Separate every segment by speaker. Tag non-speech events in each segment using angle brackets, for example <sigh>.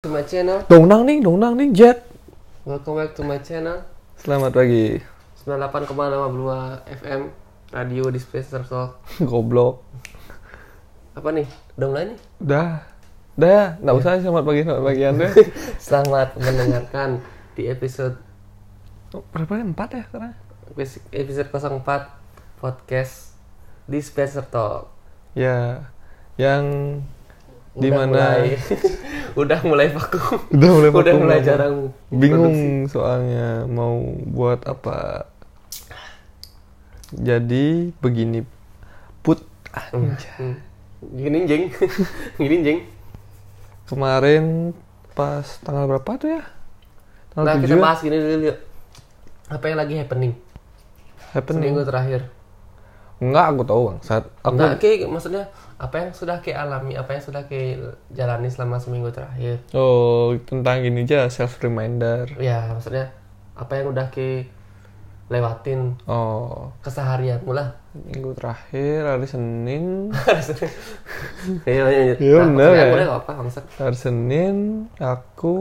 Speaker 1: to my channel.
Speaker 2: Dongnang nih, dongnang nih, Jet.
Speaker 1: Welcome back to my channel.
Speaker 2: Selamat pagi. <laughs>
Speaker 1: 98,52 FM Radio di Space Circle.
Speaker 2: Goblok.
Speaker 1: Apa nih? Udah mulai nih?
Speaker 2: Dah. Dah ya, nggak usah selamat pagi, selamat pagi <laughs> Anda.
Speaker 1: Selamat mendengarkan di episode
Speaker 2: Oh, Berapa kan? Empat ya karena?
Speaker 1: episode 04 podcast di Space Circle.
Speaker 2: Ya, yang
Speaker 1: Udah
Speaker 2: dimana
Speaker 1: mulai- <laughs> udah mulai vakum.
Speaker 2: udah
Speaker 1: udah
Speaker 2: mulai vakum
Speaker 1: mulai
Speaker 2: lama.
Speaker 1: jarang
Speaker 2: bingung
Speaker 1: produksi.
Speaker 2: soalnya mau buat apa jadi begini put anjay.
Speaker 1: Hmm. Gini jeng. <laughs> Gini jeng.
Speaker 2: kemarin pas tanggal berapa tuh ya
Speaker 1: Nah,
Speaker 2: tanggal
Speaker 1: kita
Speaker 2: 7 ya?
Speaker 1: bahas gini dulu yuk. Apa yang lagi happening
Speaker 2: happening
Speaker 1: seminggu terakhir?
Speaker 2: enggak aku tahu bang saat aku
Speaker 1: Enggak, kayak maksudnya apa yang sudah ke alami, apa yang sudah ke jalani selama seminggu terakhir.
Speaker 2: Oh, tentang ini aja self reminder.
Speaker 1: Ya, maksudnya apa yang udah ke lewatin
Speaker 2: Oh,
Speaker 1: keseharian mula. <laughs>
Speaker 2: minggu terakhir hari Senin,
Speaker 1: Iya, iya, iya.
Speaker 2: Iya,
Speaker 1: Nah,
Speaker 2: bener
Speaker 1: maksudnya
Speaker 2: ya.
Speaker 1: boleh nggak apa, maksud.
Speaker 2: hari Senin aku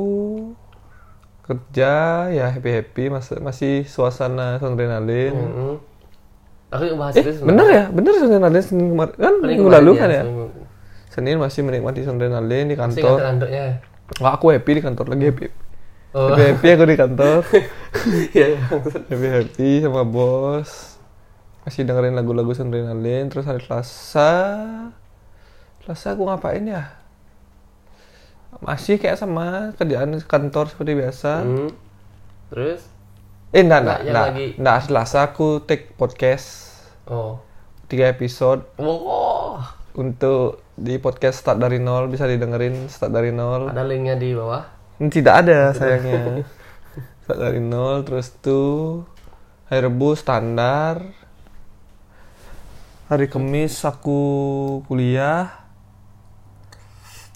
Speaker 2: kerja ya happy happy masih masih suasana adrenalin.
Speaker 1: Mm-mm. Aku juga bahas itu
Speaker 2: Eh, bener ya, bener adrenalin Senin kemarin kan
Speaker 1: Paling
Speaker 2: minggu
Speaker 1: kemarin
Speaker 2: lalu kan ya.
Speaker 1: seminggu.
Speaker 2: Senin masih menikmati adrenalin di
Speaker 1: Masih ingat
Speaker 2: kantor.
Speaker 1: landoknya ya?
Speaker 2: Wah, aku happy di kantor lagi happy.
Speaker 1: Oh,
Speaker 2: Happy happy aku di kantor.
Speaker 1: <laughs> iya, iya, maksud.
Speaker 2: happy happy sama bos masih dengerin lagu-lagu adrenalin terus hari Selasa Selasa aku ngapain ya masih kayak sama kerjaan kantor seperti biasa
Speaker 1: Mm. Terus,
Speaker 2: eh enggak enggak
Speaker 1: Nah, yang
Speaker 2: enggak,
Speaker 1: lagi-
Speaker 2: enggak Selasa aku take podcast
Speaker 1: oh,
Speaker 2: tiga episode
Speaker 1: wow,
Speaker 2: untuk di podcast start dari nol bisa didengerin start dari nol
Speaker 1: ada linknya di bawah.
Speaker 2: Ini tidak ada sayangnya. Start dari nol terus tuh hari Rebu standar. Hari Kamis aku kuliah.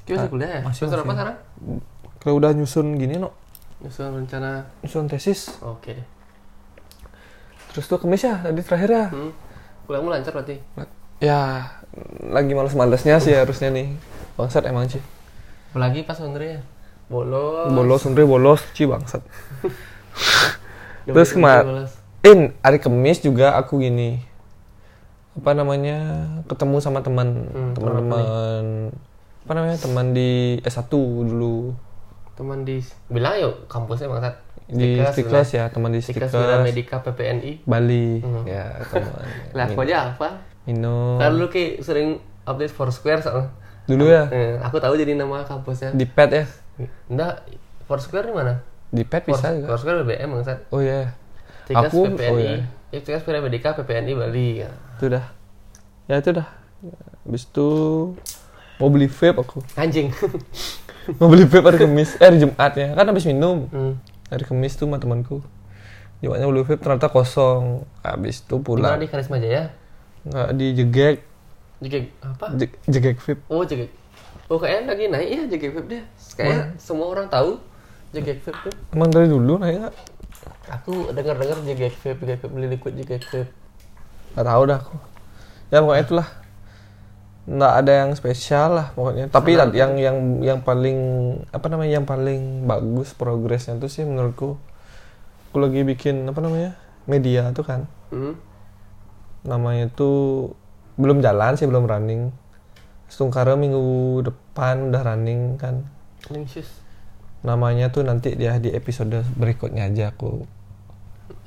Speaker 1: Kita masih kuliah ya?
Speaker 2: masih,
Speaker 1: Semester
Speaker 2: masih.
Speaker 1: apa sekarang?
Speaker 2: Kalau udah nyusun gini no,
Speaker 1: Nyusun rencana.
Speaker 2: nyusun tesis.
Speaker 1: Oke.
Speaker 2: Terus tuh Kamis ya tadi terakhir ya.
Speaker 1: Hmm. Kuliahmu lancar berarti?
Speaker 2: Ya lagi males-malesnya sih harusnya nih. Bangsat emang sih.
Speaker 1: Apalagi pas sebenernya Bolos.
Speaker 2: Bolos sendiri bolos sih bangsat.
Speaker 1: Demi
Speaker 2: Terus
Speaker 1: demi
Speaker 2: kemar-
Speaker 1: bolos.
Speaker 2: In hari Kamis juga aku gini apa namanya ketemu sama teman
Speaker 1: Hmm,
Speaker 2: teman-teman apa namanya teman di S1 dulu
Speaker 1: Teman di bilang yuk kampusnya bangsat.
Speaker 2: di
Speaker 1: Stiklas,
Speaker 2: Stiklas ya teman di
Speaker 1: Stiklas Wira
Speaker 2: Stiklas
Speaker 1: Medika PPNI.
Speaker 2: Bali
Speaker 1: Hmm.
Speaker 2: ya teman
Speaker 1: <laughs> Lah aku aja apa?
Speaker 2: minum
Speaker 1: Karena dulu kayak sering update Foursquare soalnya.
Speaker 2: Oh. dulu ya
Speaker 1: Eh, aku tahu jadi nama kampusnya.
Speaker 2: di pet ya
Speaker 1: Enggak, Foursquare di mana?
Speaker 2: di pet bisa
Speaker 1: Fours-
Speaker 2: juga
Speaker 1: Foursquare BBM bangsat.
Speaker 2: oh ya
Speaker 1: Stiklas
Speaker 2: Aku- oh,
Speaker 1: PPNI.
Speaker 2: iya.
Speaker 1: Ya, Stiklas Wira Medika PPNI Bali. Ya.
Speaker 2: itu dah ya itu dah habis itu mau beli vape aku <laughs>
Speaker 1: Anjing.
Speaker 2: mau beli vape hari Kamis eh hari Jumat ya kan habis minum
Speaker 1: <laughs> hmm.
Speaker 2: hari Kamis tuh sama temanku Jumatnya beli vape ternyata kosong habis itu
Speaker 1: Di mana
Speaker 2: pulang
Speaker 1: di Karisma Jaya?
Speaker 2: nggak dijegek
Speaker 1: Juga apa?
Speaker 2: je- jegek vape
Speaker 1: Oh JGK. Oh kayaknya lagi naik ya JGK Vape deh. Kayaknya semua orang tahu JGK Vape tuh.
Speaker 2: emang dari dulu naik nggak
Speaker 1: Aku dengar-dengar JGK Vape, JGK Vape beli liquid JGK Vape.
Speaker 2: nggak tahu dah aku ya pokoknya itulah nggak ada yang spesial lah pokoknya tapi
Speaker 1: Sama.
Speaker 2: yang yang yang paling apa namanya yang paling bagus progresnya tuh sih menurutku aku lagi bikin apa namanya media tuh kan
Speaker 1: Hmm.
Speaker 2: namanya itu belum jalan sih belum running Stungkara minggu depan udah running kan
Speaker 1: Link shoes.
Speaker 2: namanya tuh nanti dia di episode berikutnya aja aku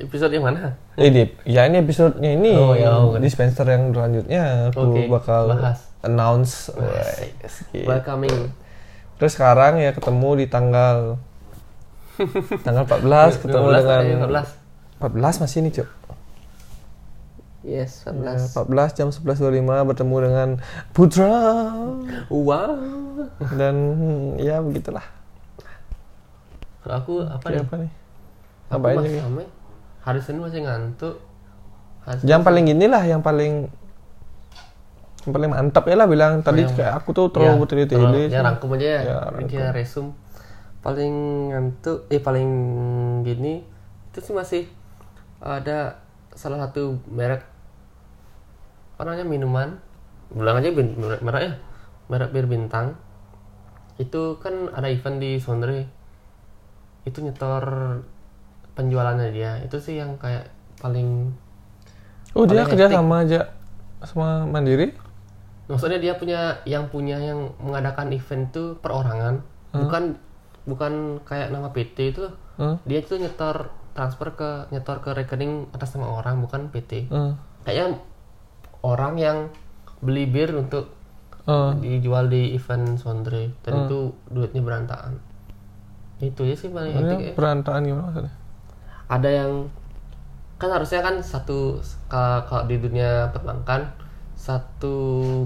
Speaker 1: Episode yang mana?
Speaker 2: eh di ya ini episodenya ini
Speaker 1: Hmm. Oh, ya, oke.
Speaker 2: dispenser yang selanjutnya aku
Speaker 1: Oke,
Speaker 2: bakal
Speaker 1: bahas.
Speaker 2: announce
Speaker 1: Asik.
Speaker 2: Gitu.
Speaker 1: Welcoming.
Speaker 2: terus sekarang ya ketemu di
Speaker 1: <laughs>
Speaker 2: tanggal tanggal 14 ketemu
Speaker 1: 15,
Speaker 2: dengan
Speaker 1: katanya, 14.
Speaker 2: 14 masih nih cok
Speaker 1: Yes,
Speaker 2: Iya,
Speaker 1: 14.
Speaker 2: 14 jam 11.25 bertemu dengan Putra
Speaker 1: Wow.
Speaker 2: dan ya begitulah
Speaker 1: Kalau aku apa nih?
Speaker 2: Kayak apa nih
Speaker 1: Aku
Speaker 2: Apa
Speaker 1: masih
Speaker 2: ini
Speaker 1: sama. Hari Senin masih ngantuk. Hari Senin
Speaker 2: yang paling gini lah yang paling yang paling mantap ya lah bilang tadi
Speaker 1: Oh, Yang-
Speaker 2: kayak aku tuh terlalu bertele-tele
Speaker 1: Ya rangkum aja ya.
Speaker 2: Ya,
Speaker 1: Ini kayak resum. Paling ngantuk, eh paling gini itu sih masih ada salah satu merek apa namanya minuman, bilang aja bin- merek merek ya, merek bir bintang itu kan ada event di Sondre itu nyetor penjualannya dia itu sih yang kayak paling
Speaker 2: Oh dia
Speaker 1: Paling
Speaker 2: kerja
Speaker 1: hektik.
Speaker 2: sama aja sama Mandiri?
Speaker 1: maksudnya dia punya yang punya yang mengadakan event tuh perorangan bukan bukan kayak nama PT itu
Speaker 2: Heeh.
Speaker 1: dia tuh nyetor transfer ke nyetor ke rekening atas nama orang bukan PT
Speaker 2: Heeh.
Speaker 1: kayaknya orang yang beli bir untuk
Speaker 2: Heeh.
Speaker 1: dijual di event Sondre dan itu duitnya berantakan itu ya sih paling
Speaker 2: Maksudnya
Speaker 1: hektik ya.
Speaker 2: perantaan gimana maksudnya?
Speaker 1: ada yang kan harusnya kan satu kalau kalau di dunia perbankan satu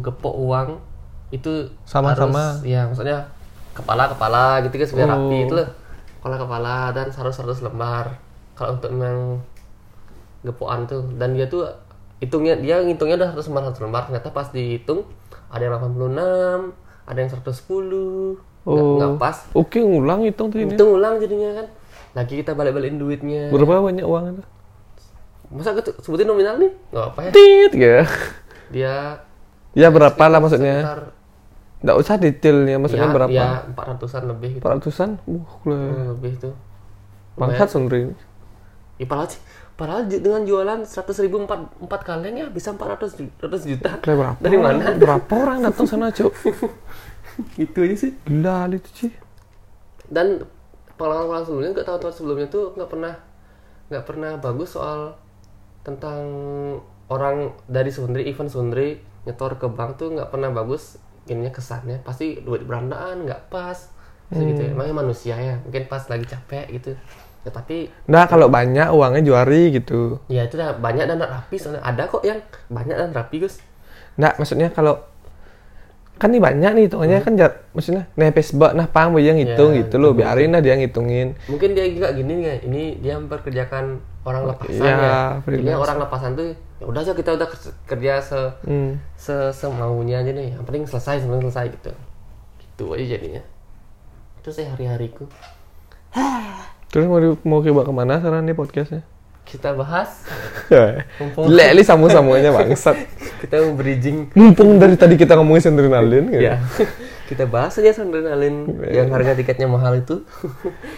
Speaker 1: gepok uang itu
Speaker 2: Sama-sama.
Speaker 1: harus- ya maksudnya kepala kepala gitu guys biar
Speaker 2: Oh.
Speaker 1: rapi itu loh kepala kepala dan harus 100 lembar kalau untuk yang gepokan tuh dan dia tuh hitungnya dia ngitungnya udah 100 lembar 100 lembar ternyata pas dihitung ada yang 86 ada yang 110 nggak
Speaker 2: Oh.
Speaker 1: nggak pas
Speaker 2: Oke ngulang hitung tuh ini.
Speaker 1: hitung ulang jadinya kan lagi kita balik-balikin duitnya
Speaker 2: Berapa banyak uang itu?
Speaker 1: masa aku tu- sebutin nominal nih nggak apa ya
Speaker 2: Tit ya.
Speaker 1: dia
Speaker 2: Ya berapa lah maksudnya?
Speaker 1: sekitar
Speaker 2: Nggak usah detailnya maksudnya
Speaker 1: ya,
Speaker 2: berapa?
Speaker 1: ya 400-an lebih gitu
Speaker 2: 400-an? Wah, gila.
Speaker 1: Hmm, lebih tuh
Speaker 2: Bangsat Sundri ini.
Speaker 1: ya padahal sih- padahal ju- dengan jualan 100 ribu empat empat kaleng ya bisa 400 ju- 400 juta <laughs>
Speaker 2: Kayak berapa?
Speaker 1: Dari
Speaker 2: orang-
Speaker 1: mana?
Speaker 2: Berapa orang datang sana, Cuk?
Speaker 1: gitu aja sih
Speaker 2: Gila itu, Ci.
Speaker 1: dan pengalaman-pengalaman sebelumnya nggak tahun-tahun sebelumnya tuh nggak pernah nggak pernah bagus soal tentang orang dari Sundri event Sundri nyetor ke bank tuh nggak pernah bagus ininya kesannya pasti duit berandaan nggak pas Terus gitu
Speaker 2: Hmm.
Speaker 1: ya emangnya manusia ya mungkin pas lagi capek gitu ya tapi
Speaker 2: Nah, kalau banyak uangnya juari gitu.
Speaker 1: ya itu dah banyak dan nggak rapi soalnya ada kok yang banyak dan rapi Gus
Speaker 2: Nah, maksudnya kalau kan nih banyak nih hitungannya
Speaker 1: Hmm.
Speaker 2: kan jar, maksudnya nepes bak nah paham yang hitung
Speaker 1: Ya,
Speaker 2: gitu loh biarin lah dia ngitungin
Speaker 1: mungkin dia juga gini nih ini dia memperkerjakan orang lepasan
Speaker 2: Iya,
Speaker 1: ya, Jadinya
Speaker 2: freelance.
Speaker 1: orang lepasan tuh ya udah aja kita udah kerja se
Speaker 2: hmm.
Speaker 1: se semaunya aja nih yang penting selesai sebelum selesai gitu gitu aja jadinya itu sih hari-hariku
Speaker 2: terus mau di- mau coba kemana sekarang nih podcastnya
Speaker 1: kita bahas <laughs> Mumpung-
Speaker 2: Lek li samu samuanya bangsat
Speaker 1: kita mau bridging
Speaker 2: mumpung dari tadi kita ngomongin sendrinalin gitu.
Speaker 1: ya <laughs> kita bahas aja adrenalin
Speaker 2: Iya.
Speaker 1: yang harga tiketnya mahal
Speaker 2: <laughs>
Speaker 1: itu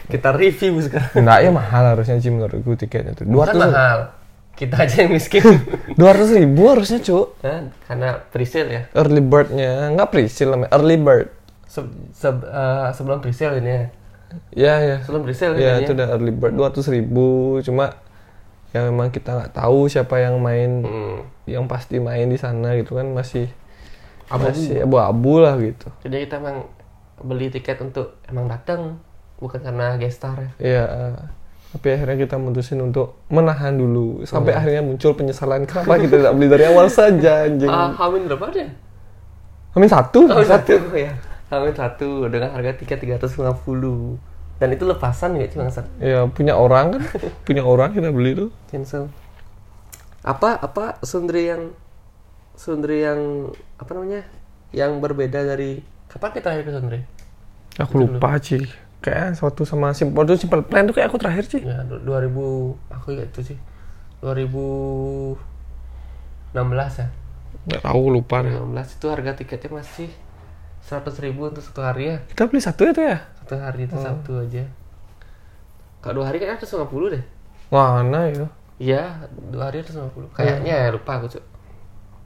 Speaker 1: kita review sekarang
Speaker 2: Nggak ya mahal harusnya sih menurut gue tiketnya tuh dua
Speaker 1: bukan mahal kita aja yang
Speaker 2: <laughs>
Speaker 1: miskin
Speaker 2: ribu harusnya cuk
Speaker 1: Nah, karena pre-sale ya
Speaker 2: early birdnya nggak pre-sale namanya early bird
Speaker 1: Seb- seb- eh, sebelum pre-sale ini ya
Speaker 2: ya ya
Speaker 1: sebelum pre-sale
Speaker 2: ya
Speaker 1: ini
Speaker 2: itu udah early bird dua ribu cuma ya memang kita nggak tahu siapa yang main
Speaker 1: Hmm.
Speaker 2: yang pasti main di sana gitu kan masih
Speaker 1: Abu-abu.
Speaker 2: masih abu-abu lah gitu
Speaker 1: jadi kita emang beli tiket untuk emang datang bukan karena gestar ya
Speaker 2: ya eh, tapi akhirnya kita mutusin untuk menahan dulu sampai akhirnya muncul penyesalan kenapa kita tidak beli dari awal saja anjing
Speaker 1: Ah, Hamin berapa deh?
Speaker 2: Amin Oh, satu
Speaker 1: Hamin
Speaker 2: bangsat.
Speaker 1: satu ya. Hamin satu dengan harga tiket 350. Dan itu lepasan nggak sih bangsat?
Speaker 2: ya punya orang kan punya orang kita beli tuh
Speaker 1: Cancel. Apa apa Sundri yang Sundri yang apa namanya? Yang berbeda dari kapan kita terakhir ke Sundri?
Speaker 2: aku lupa sih Gitu kayak suatu sama simple tuh simple plan tuh kayak aku terakhir sih
Speaker 1: Ya du- 2000 aku ingat itu sih. 2016 ya.
Speaker 2: nggak tahu lupa deh.
Speaker 1: 2016 itu harga tiketnya masih 100.000 untuk satu hari ya.
Speaker 2: kita beli satu itu ya
Speaker 1: Satu hari itu Sabtu aja. Kalau dua hari kayaknya 150 deh.
Speaker 2: mana ya
Speaker 1: Iya, dua hari 150. Kayaknya ya, lupa aku, Cuk.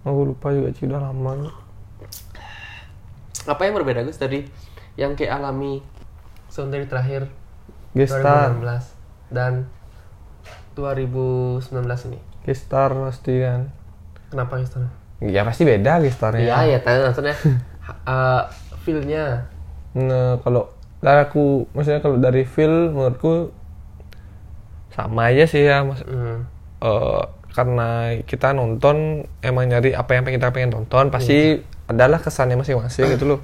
Speaker 2: aku lupa juga sih udah lama
Speaker 1: Apa yang berbeda, Gus, dari yang kayak alami Sunday terakhir
Speaker 2: gestar
Speaker 1: 2016 dan 2019 ini?
Speaker 2: gestar pasti kan
Speaker 1: Kenapa gitu?
Speaker 2: ya pasti beda gestarnya
Speaker 1: Iya, ya, tanya
Speaker 2: <laughs>
Speaker 1: maksudnya ha- eh, feel-nya.
Speaker 2: Nah, kalau dari aku, maksudnya kalau dari feel menurutku sama aja sih ya, mas.
Speaker 1: Hmm.
Speaker 2: Eh, karena kita nonton emang nyari apa yang pengen kita pengen tonton, pasti
Speaker 1: Hmm.
Speaker 2: adalah kesannya masing-masing gitu loh.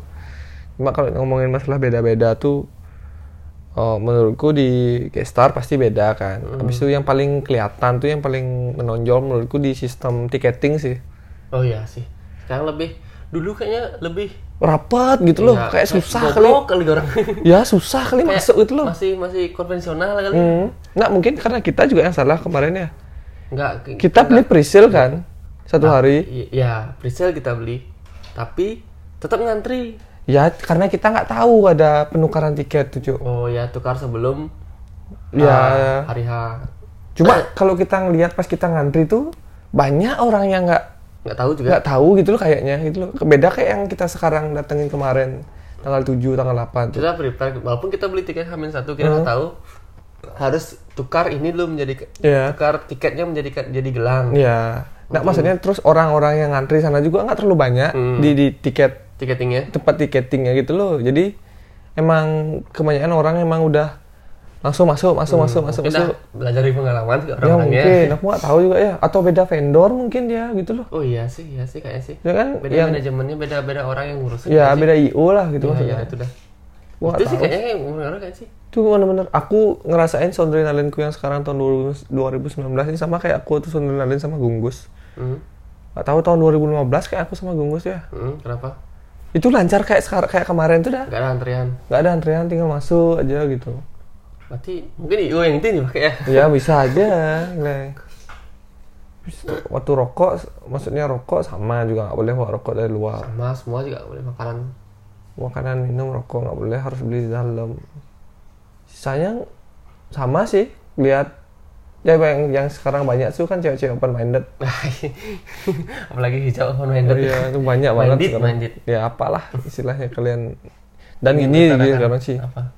Speaker 2: Cuma kalau ngomongin masalah beda-beda tuh, eh, menurutku di Gestar pasti beda kan.
Speaker 1: Hmm.
Speaker 2: Habis itu yang paling kelihatan tuh yang paling menonjol menurutku di sistem tiketing sih.
Speaker 1: Oh iya sih. Sekarang lebih dulu kayaknya lebih
Speaker 2: Rapat gitu loh,
Speaker 1: ya,
Speaker 2: kayak susah kali.
Speaker 1: goblok kali orang.
Speaker 2: Ya susah kali
Speaker 1: Kayak
Speaker 2: masuk gitu <laughs> loh.
Speaker 1: Masih masih konvensional kali.
Speaker 2: Hmm. Nah mungkin karena kita juga yang salah kemarin ya.
Speaker 1: Enggak
Speaker 2: Kita beli presale kan satu hari.
Speaker 1: I- ya presale kita beli tapi tetap ngantri
Speaker 2: Ya karena kita nggak tahu ada penukaran tiket tuh Cuk.
Speaker 1: Oh ya tukar sebelum
Speaker 2: Ya.
Speaker 1: ah, hari H.
Speaker 2: Cuma kalau kita ngelihat pas kita ngantri tuh banyak orang yang nggak
Speaker 1: Nggak tahu juga.
Speaker 2: nggak tahu gitu loh kayaknya gitu loh. Beda kayak yang kita sekarang datengin kemarin tanggal 7, tanggal 8 tuh.
Speaker 1: Kita prepare walaupun kita beli tiket Hamin satu kita nggak tahu harus tukar ini dulu menjadi
Speaker 2: Iya.
Speaker 1: tukar tiketnya menjadi jadi gelang.
Speaker 2: Ya. Nah, maksudnya terus orang-orang yang ngantri sana juga nggak terlalu banyak di di tiket
Speaker 1: Tiketingnya.
Speaker 2: tempat tiketingnya gitu loh. Jadi emang kebanyakan orang emang udah langsung masuk, masuk, masuk, masuk,
Speaker 1: Kita
Speaker 2: masuk.
Speaker 1: belajar dari pengalaman sih
Speaker 2: Ya
Speaker 1: orang-orangnya.
Speaker 2: mungkin, aku nggak tahu juga ya. Atau beda vendor mungkin ya gitu loh.
Speaker 1: Oh iya sih, iya sih kayaknya sih.
Speaker 2: Ya kan
Speaker 1: Beda
Speaker 2: yang
Speaker 1: manajemennya beda-beda orang yang ngurusin.
Speaker 2: ya
Speaker 1: nggak sih?
Speaker 2: beda IO lah gitu
Speaker 1: Iya,
Speaker 2: maksudnya.
Speaker 1: iya, itu dah.
Speaker 2: Gua nggak
Speaker 1: itu sih
Speaker 2: tahu.
Speaker 1: kayaknya yang orang kayak sih.
Speaker 2: Itu bener-bener aku ngerasain soundrenalinku yang sekarang tahun 2000 2019 ini sama kayak aku tuh soundrenalin sama Gunggus.
Speaker 1: Hmm.
Speaker 2: Gak tahu tahun 2015 kayak aku sama Gunggus ya.
Speaker 1: Hmm, kenapa?
Speaker 2: Itu lancar kayak sekarang kayak kemarin tuh dah.
Speaker 1: Gak ada antrian.
Speaker 2: Gak ada antrian tinggal masuk aja gitu.
Speaker 1: Berarti mungkin IO yang itu yang dipakai ya.
Speaker 2: Ya bisa aja, Leng. Waktu rokok, maksudnya rokok sama juga nggak boleh bawa rokok dari luar.
Speaker 1: Sama semua juga nggak boleh makanan.
Speaker 2: Makanan minum rokok nggak boleh harus beli di dalam. Sisanya sama sih. Lihat ya yang, yang sekarang banyak tuh kan cewek-cewek open minded.
Speaker 1: <laughs> Apalagi hijau open minded.
Speaker 2: Oh iya, itu banyak banget
Speaker 1: Minded,
Speaker 2: sekarang.
Speaker 1: minded.
Speaker 2: Ya apalah istilahnya kalian. Dan ini gitu sekarang sih.
Speaker 1: Apa?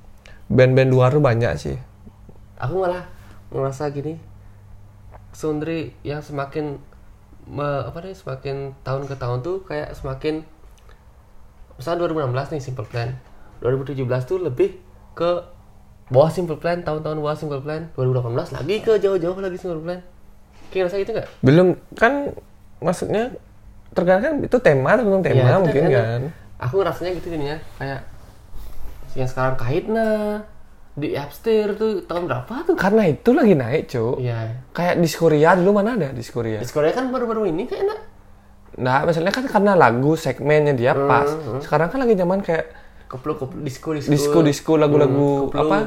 Speaker 2: Band-band luar tuh banyak sih.
Speaker 1: Aku malah merasa gini. Sundri yang semakin me- apa nih semakin tahun ke tahun tuh kayak semakin misalnya 2016 nih Simple Plan 2017 tuh lebih ke bawah Simple Plan tahun-tahun bawah Simple Plan 2018 lagi ke jauh-jauh lagi Simple Plan kayak ngerasa gitu nggak?
Speaker 2: Belum kan maksudnya tergantung kan itu tema tergantung tema
Speaker 1: Iya, itu
Speaker 2: mungkin kan.
Speaker 1: tergantung. Aku ngerasanya gitu jadinya kayak yang sekarang Kahitna di Upstairs tuh tahun berapa tuh?
Speaker 2: Karena itu lagi naik, Cuk.
Speaker 1: Iya.
Speaker 2: Kayak di Korea dulu mana ada di Korea?
Speaker 1: Di Korea kan baru-baru ini kayak enak.
Speaker 2: Nah, maksudnya kan karena lagu segmennya dia pas. Sekarang kan lagi zaman kayak
Speaker 1: Koplo koplo disco disco.
Speaker 2: disco-disco
Speaker 1: Hmm,
Speaker 2: lagu-lagu
Speaker 1: koplo.
Speaker 2: apa?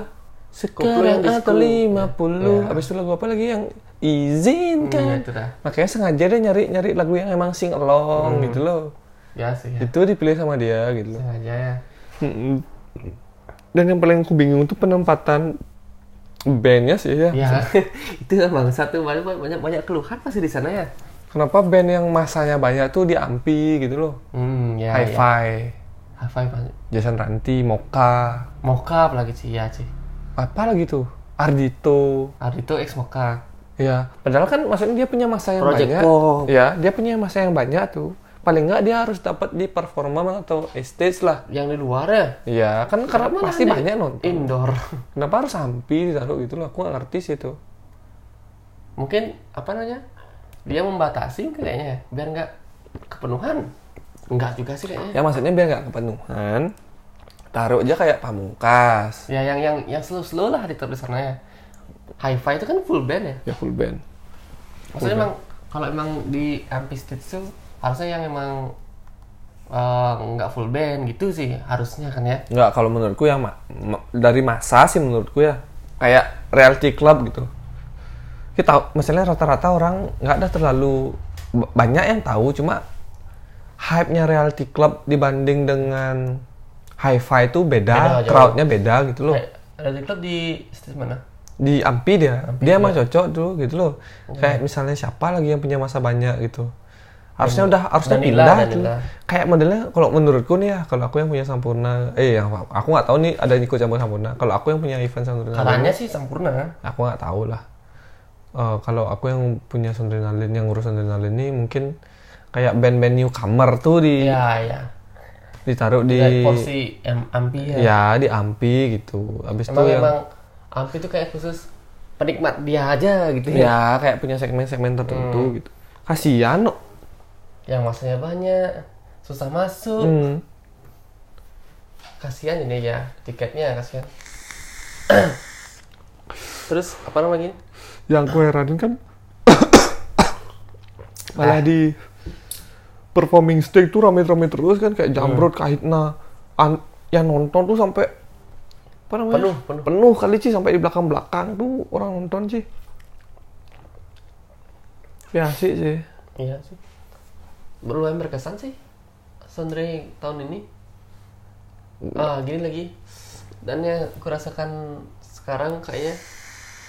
Speaker 1: Koplo yang
Speaker 2: Sekarang Iya. atau
Speaker 1: disco.
Speaker 2: 50.
Speaker 1: Ya.
Speaker 2: Habis itu lagu apa lagi yang
Speaker 1: Hmm, ya,
Speaker 2: izinkan?
Speaker 1: itu dah.
Speaker 2: Makanya sengaja dia nyari-nyari lagu yang emang sing along gitu loh.
Speaker 1: Ya sih ya.
Speaker 2: Itu dipilih sama dia gitu loh.
Speaker 1: Sengaja ya.
Speaker 2: Mm-mm. Dan yang paling aku bingung tuh penempatan bandnya sih ya.
Speaker 1: Ya <laughs> itu emang satu banyak banyak banyak keluhan pasti di sana ya.
Speaker 2: Kenapa band yang masanya banyak tuh di Ampi gitu loh.
Speaker 1: Hmm ya. ya.
Speaker 2: Hi-Fi,
Speaker 1: High five pasti.
Speaker 2: Jason Ranti, Moka,
Speaker 1: Moka apalagi sih ya sih.
Speaker 2: apa lagi tuh? Ardito.
Speaker 1: Ardito X Moka.
Speaker 2: Ya, padahal kan maksudnya dia punya masa yang
Speaker 1: Project
Speaker 2: banyak.
Speaker 1: Pop.
Speaker 2: Ya, dia punya masa yang banyak tuh. Paling nggak dia harus dapat di performa atau stage lah.
Speaker 1: Yang di luar ya.
Speaker 2: Ya, kan karena
Speaker 1: Kenapa Iya.
Speaker 2: pasti
Speaker 1: ada
Speaker 2: banyak nonton.
Speaker 1: Indoor.
Speaker 2: Kenapa harus Ampi ditaruh gitu loh? Aku nggak ngerti sih itu.
Speaker 1: Mungkin apa namanya? Dia membatasi kayaknya ya, biar nggak kepenuhan. Enggak juga sih kayaknya.
Speaker 2: Ya maksudnya biar nggak kepenuhan. Taruh aja kayak pamungkas.
Speaker 1: Ya yang yang yang slow slow lah ditaruh di sana ya. High five itu kan full band ya.
Speaker 2: Ya full band.
Speaker 1: Maksudnya emang kalau emang di MP Stage tuh harusnya yang emang eh, nggak full band gitu sih harusnya kan ya.
Speaker 2: Nggak, kalau menurutku yang ma- ma- dari masa sih menurutku ya kayak reality club gitu. Kita tahu- misalnya rata-rata orang nggak ada terlalu b- banyak yang tahu cuma hype-nya reality club dibanding dengan hi-fi itu
Speaker 1: Beda
Speaker 2: beda,
Speaker 1: jauh.
Speaker 2: crowd-nya beda gitu loh.
Speaker 1: Kayak Ada klub di stage mana?
Speaker 2: Di Ampi dia, dia emang cocok dulu gitu loh.
Speaker 1: Oh.
Speaker 2: Kayak misalnya siapa lagi yang punya masa banyak gitu. Harusnya udah harusnya
Speaker 1: Danila,
Speaker 2: pindah tuh.
Speaker 1: Danila.
Speaker 2: Kayak modelnya kalau menurutku nih ya, kalau aku yang punya Sampurna, eh yang aku nggak tahu nih ada yang ikut campur Sampurna. Kalau aku yang punya event Sampurna,
Speaker 1: Katanya sih sempurna.
Speaker 2: aku nggak tahu lah. Eh, kalau aku yang punya Sondrenalin yang ngurus Sondrenalin ini mungkin kayak band-band newcomer tuh di
Speaker 1: Iya iya.
Speaker 2: ditaruh di
Speaker 1: Kayak porsi em- ampi ya.
Speaker 2: ya di Ampi gitu. Habis itu
Speaker 1: Emang
Speaker 2: yang
Speaker 1: emang ampi tuh kayak khusus penikmat dia aja gitu ya.
Speaker 2: ya kayak punya segmen-segmen tertentu
Speaker 1: Hmm.
Speaker 2: gitu. Kasihan no.
Speaker 1: Yang masanya banyak, susah masuk.
Speaker 2: Hmm.
Speaker 1: Kasihan ini ya tiketnya kasihan. <clears throat> Terus apa namanya?
Speaker 2: yang aku heranin kan <coughs> Eh. malah di performing stage tuh rame-rame terus kan kayak jamrut kahitna An- yang nonton tuh sampai apa namanya
Speaker 1: Penuh, ya. penuh.
Speaker 2: kali sih sampai di belakang belakang tuh orang nonton sih ya sih sih
Speaker 1: Iya sih. Berlumayan berkesan sih. Sondre tahun ini. ah gini lagi dan yang kurasakan sekarang kayaknya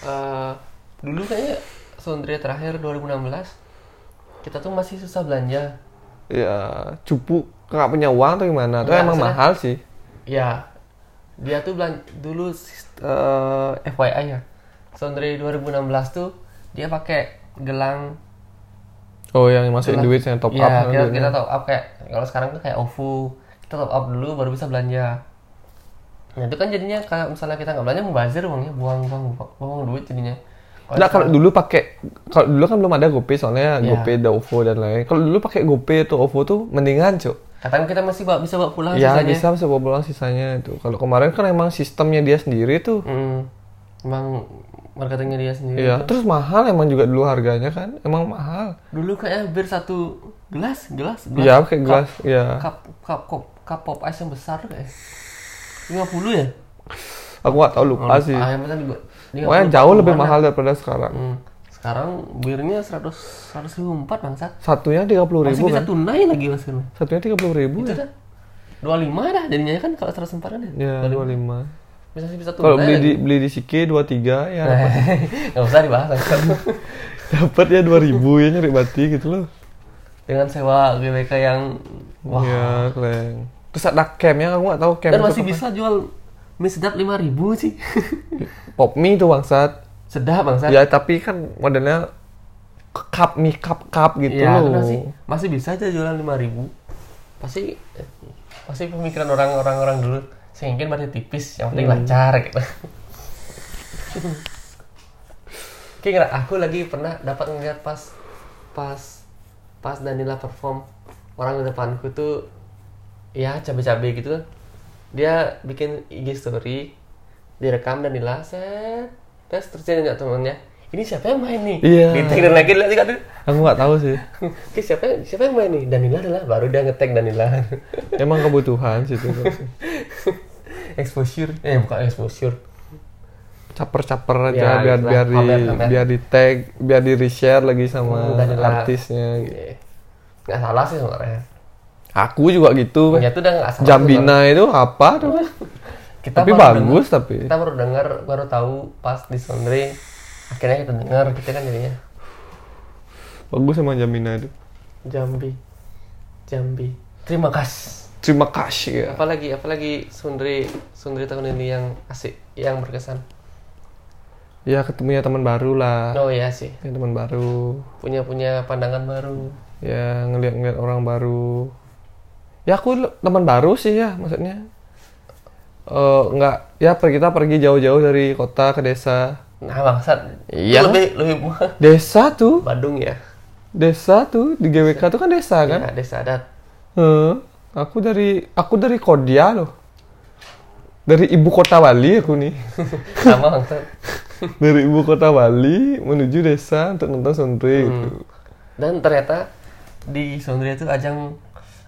Speaker 1: eh, dulu kayaknya Sundri terakhir 2016 kita tuh masih susah belanja
Speaker 2: ya cupu nggak punya uang atau gimana tuh
Speaker 1: Nggak,
Speaker 2: emang
Speaker 1: maksudnya-
Speaker 2: mahal sih
Speaker 1: ya dia tuh belan dulu eh, FYI ya Sundri 2016 tuh dia pakai gelang
Speaker 2: oh yang masukin
Speaker 1: Gelang.
Speaker 2: duit yang top
Speaker 1: Iya,
Speaker 2: up
Speaker 1: kita,
Speaker 2: kan
Speaker 1: kita
Speaker 2: duitnya.
Speaker 1: top up kayak kalau sekarang tuh kayak OVO kita top up dulu baru bisa belanja nah itu kan jadinya kalau misalnya kita nggak belanja mubazir uangnya buang buang buang, buang duit jadinya
Speaker 2: Nah kalau dulu pakai kalau dulu kan belum ada GoPay soalnya
Speaker 1: Iya.
Speaker 2: GoPay ada OVO dan lain. Kalau dulu pakai GoPay atau OVO tuh mendingan, Cuk.
Speaker 1: katanya kita masih bawa, bisa bawa pulang
Speaker 2: Ya
Speaker 1: Oh, sisanya.
Speaker 2: bisa bisa bawa pulang sisanya itu. Kalau kemarin kan emang sistemnya dia sendiri tuh.
Speaker 1: Hmm, emang marketingnya dia sendiri
Speaker 2: Iya, terus mahal emang juga dulu harganya kan. Emang mahal.
Speaker 1: dulu kayak hampir satu gelas gelas gelas
Speaker 2: Iya, pakai
Speaker 1: Cup-
Speaker 2: gelas, ya.
Speaker 1: cup cup cup cup pop ice yang besar tuh kayak 50 ya
Speaker 2: Aku gak tahu lupa sih.
Speaker 1: Ah, yang besar juga 50
Speaker 2: Pokoknya jauh lebih
Speaker 1: mana?
Speaker 2: mahal daripada sekarang.
Speaker 1: Hmm, sekarang birnya 100 104 bangsat
Speaker 2: Satunya tiga puluh
Speaker 1: masih
Speaker 2: ribu
Speaker 1: bisa
Speaker 2: kan?
Speaker 1: tunai lagi mas Firman
Speaker 2: Satunya tiga puluh ribu
Speaker 1: itu dah
Speaker 2: ya?
Speaker 1: 25 dah jadinya kan kalau 104 kan ya,
Speaker 2: Ya dua lima.
Speaker 1: bisa masih bisa tunai
Speaker 2: Kalau beli di
Speaker 1: lagi.
Speaker 2: beli di Sike dua tiga ya <laughs>
Speaker 1: Nah, <laughs> nggak usah dibahas langsung.
Speaker 2: dapat ya dua ribu ya nyari bati gitu loh.
Speaker 1: <laughs> dengan sewa GBK yang wah
Speaker 2: Iya, kleng. Terus ada campnya, aku gak tahu camp
Speaker 1: dan
Speaker 2: itu
Speaker 1: masih
Speaker 2: apa.
Speaker 1: bisa jual mie sedap 5000 sih <laughs>
Speaker 2: Pop mie itu bangsat.
Speaker 1: sedap bangsa
Speaker 2: Ya, tapi kan modelnya cup mie cup cup gitu
Speaker 1: Iya,
Speaker 2: loh.
Speaker 1: kan masih masih bisa aja jualan 5000 pasti pasti pemikiran orang-orang orang dulu sehingga masih tipis yang
Speaker 2: Iya.
Speaker 1: penting lancar gitu Oke, nggak, aku lagi pernah dapat ngeliat pas pas pas Danila perform orang di depanku tuh ya cabe-cabe gitu kan. Dia bikin IG story direkam Danila set terus terus dia nanya temennya ini siapa yang main nih?
Speaker 2: Iya.
Speaker 1: Di-tag dan lagi lihat tuh
Speaker 2: Aku nggak tahu sih.
Speaker 1: Oke, siapa yang, siapa yang main nih? Danila adalah baru dia ngetek Danila.
Speaker 2: Emang kebutuhan sih itu.
Speaker 1: exposure. Eh, bukan exposure.
Speaker 2: Caper-caper
Speaker 1: Ya,
Speaker 2: aja biar
Speaker 1: gitu lah.
Speaker 2: biar di
Speaker 1: Pamer-pamer.
Speaker 2: biar di tag, biar di reshare lagi sama
Speaker 1: Hmm, dan lah.
Speaker 2: artisnya. gitu.
Speaker 1: Iya. Nggak salah sih sebenarnya.
Speaker 2: Aku juga gitu.
Speaker 1: Punya tuh udah nggak salah.
Speaker 2: Jambina itu apa tuh?
Speaker 1: Kita
Speaker 2: Tapi
Speaker 1: baru
Speaker 2: bagus tapi.
Speaker 1: denger- kita baru dengar, baru tahu pas di Sondre. Akhirnya kita dengar, kita kan jadinya
Speaker 2: Bagus emang Jambina itu.
Speaker 1: Jambi. Jambi. Terima kasih.
Speaker 2: Terima kasih ya.
Speaker 1: Apalagi apalagi Sundri Sundri tahun ini yang asik, yang berkesan.
Speaker 2: Ya ketemunya teman baru lah.
Speaker 1: Oh iya sih,
Speaker 2: Ya, teman baru.
Speaker 1: punya punya pandangan baru.
Speaker 2: ya ngeliat-ngeliat orang baru ya aku l- teman baru sih ya maksudnya Eh, nggak ya per- kita pergi jauh-jauh dari kota ke desa
Speaker 1: Nah, bangsat.
Speaker 2: Iya.
Speaker 1: Lebih lebih
Speaker 2: desa tuh
Speaker 1: Badung ya.
Speaker 2: desa tuh di GWK tuh kan desa kan
Speaker 1: Ya, desa adat.
Speaker 2: Eh, aku dari aku dari Kodia loh dari ibu kota Bali aku nih
Speaker 1: <laughs> Sama bangsat.
Speaker 2: dari ibu kota Bali menuju desa untuk nonton
Speaker 1: Hmm.
Speaker 2: santri gitu
Speaker 1: Dan ternyata di Sondria itu ajang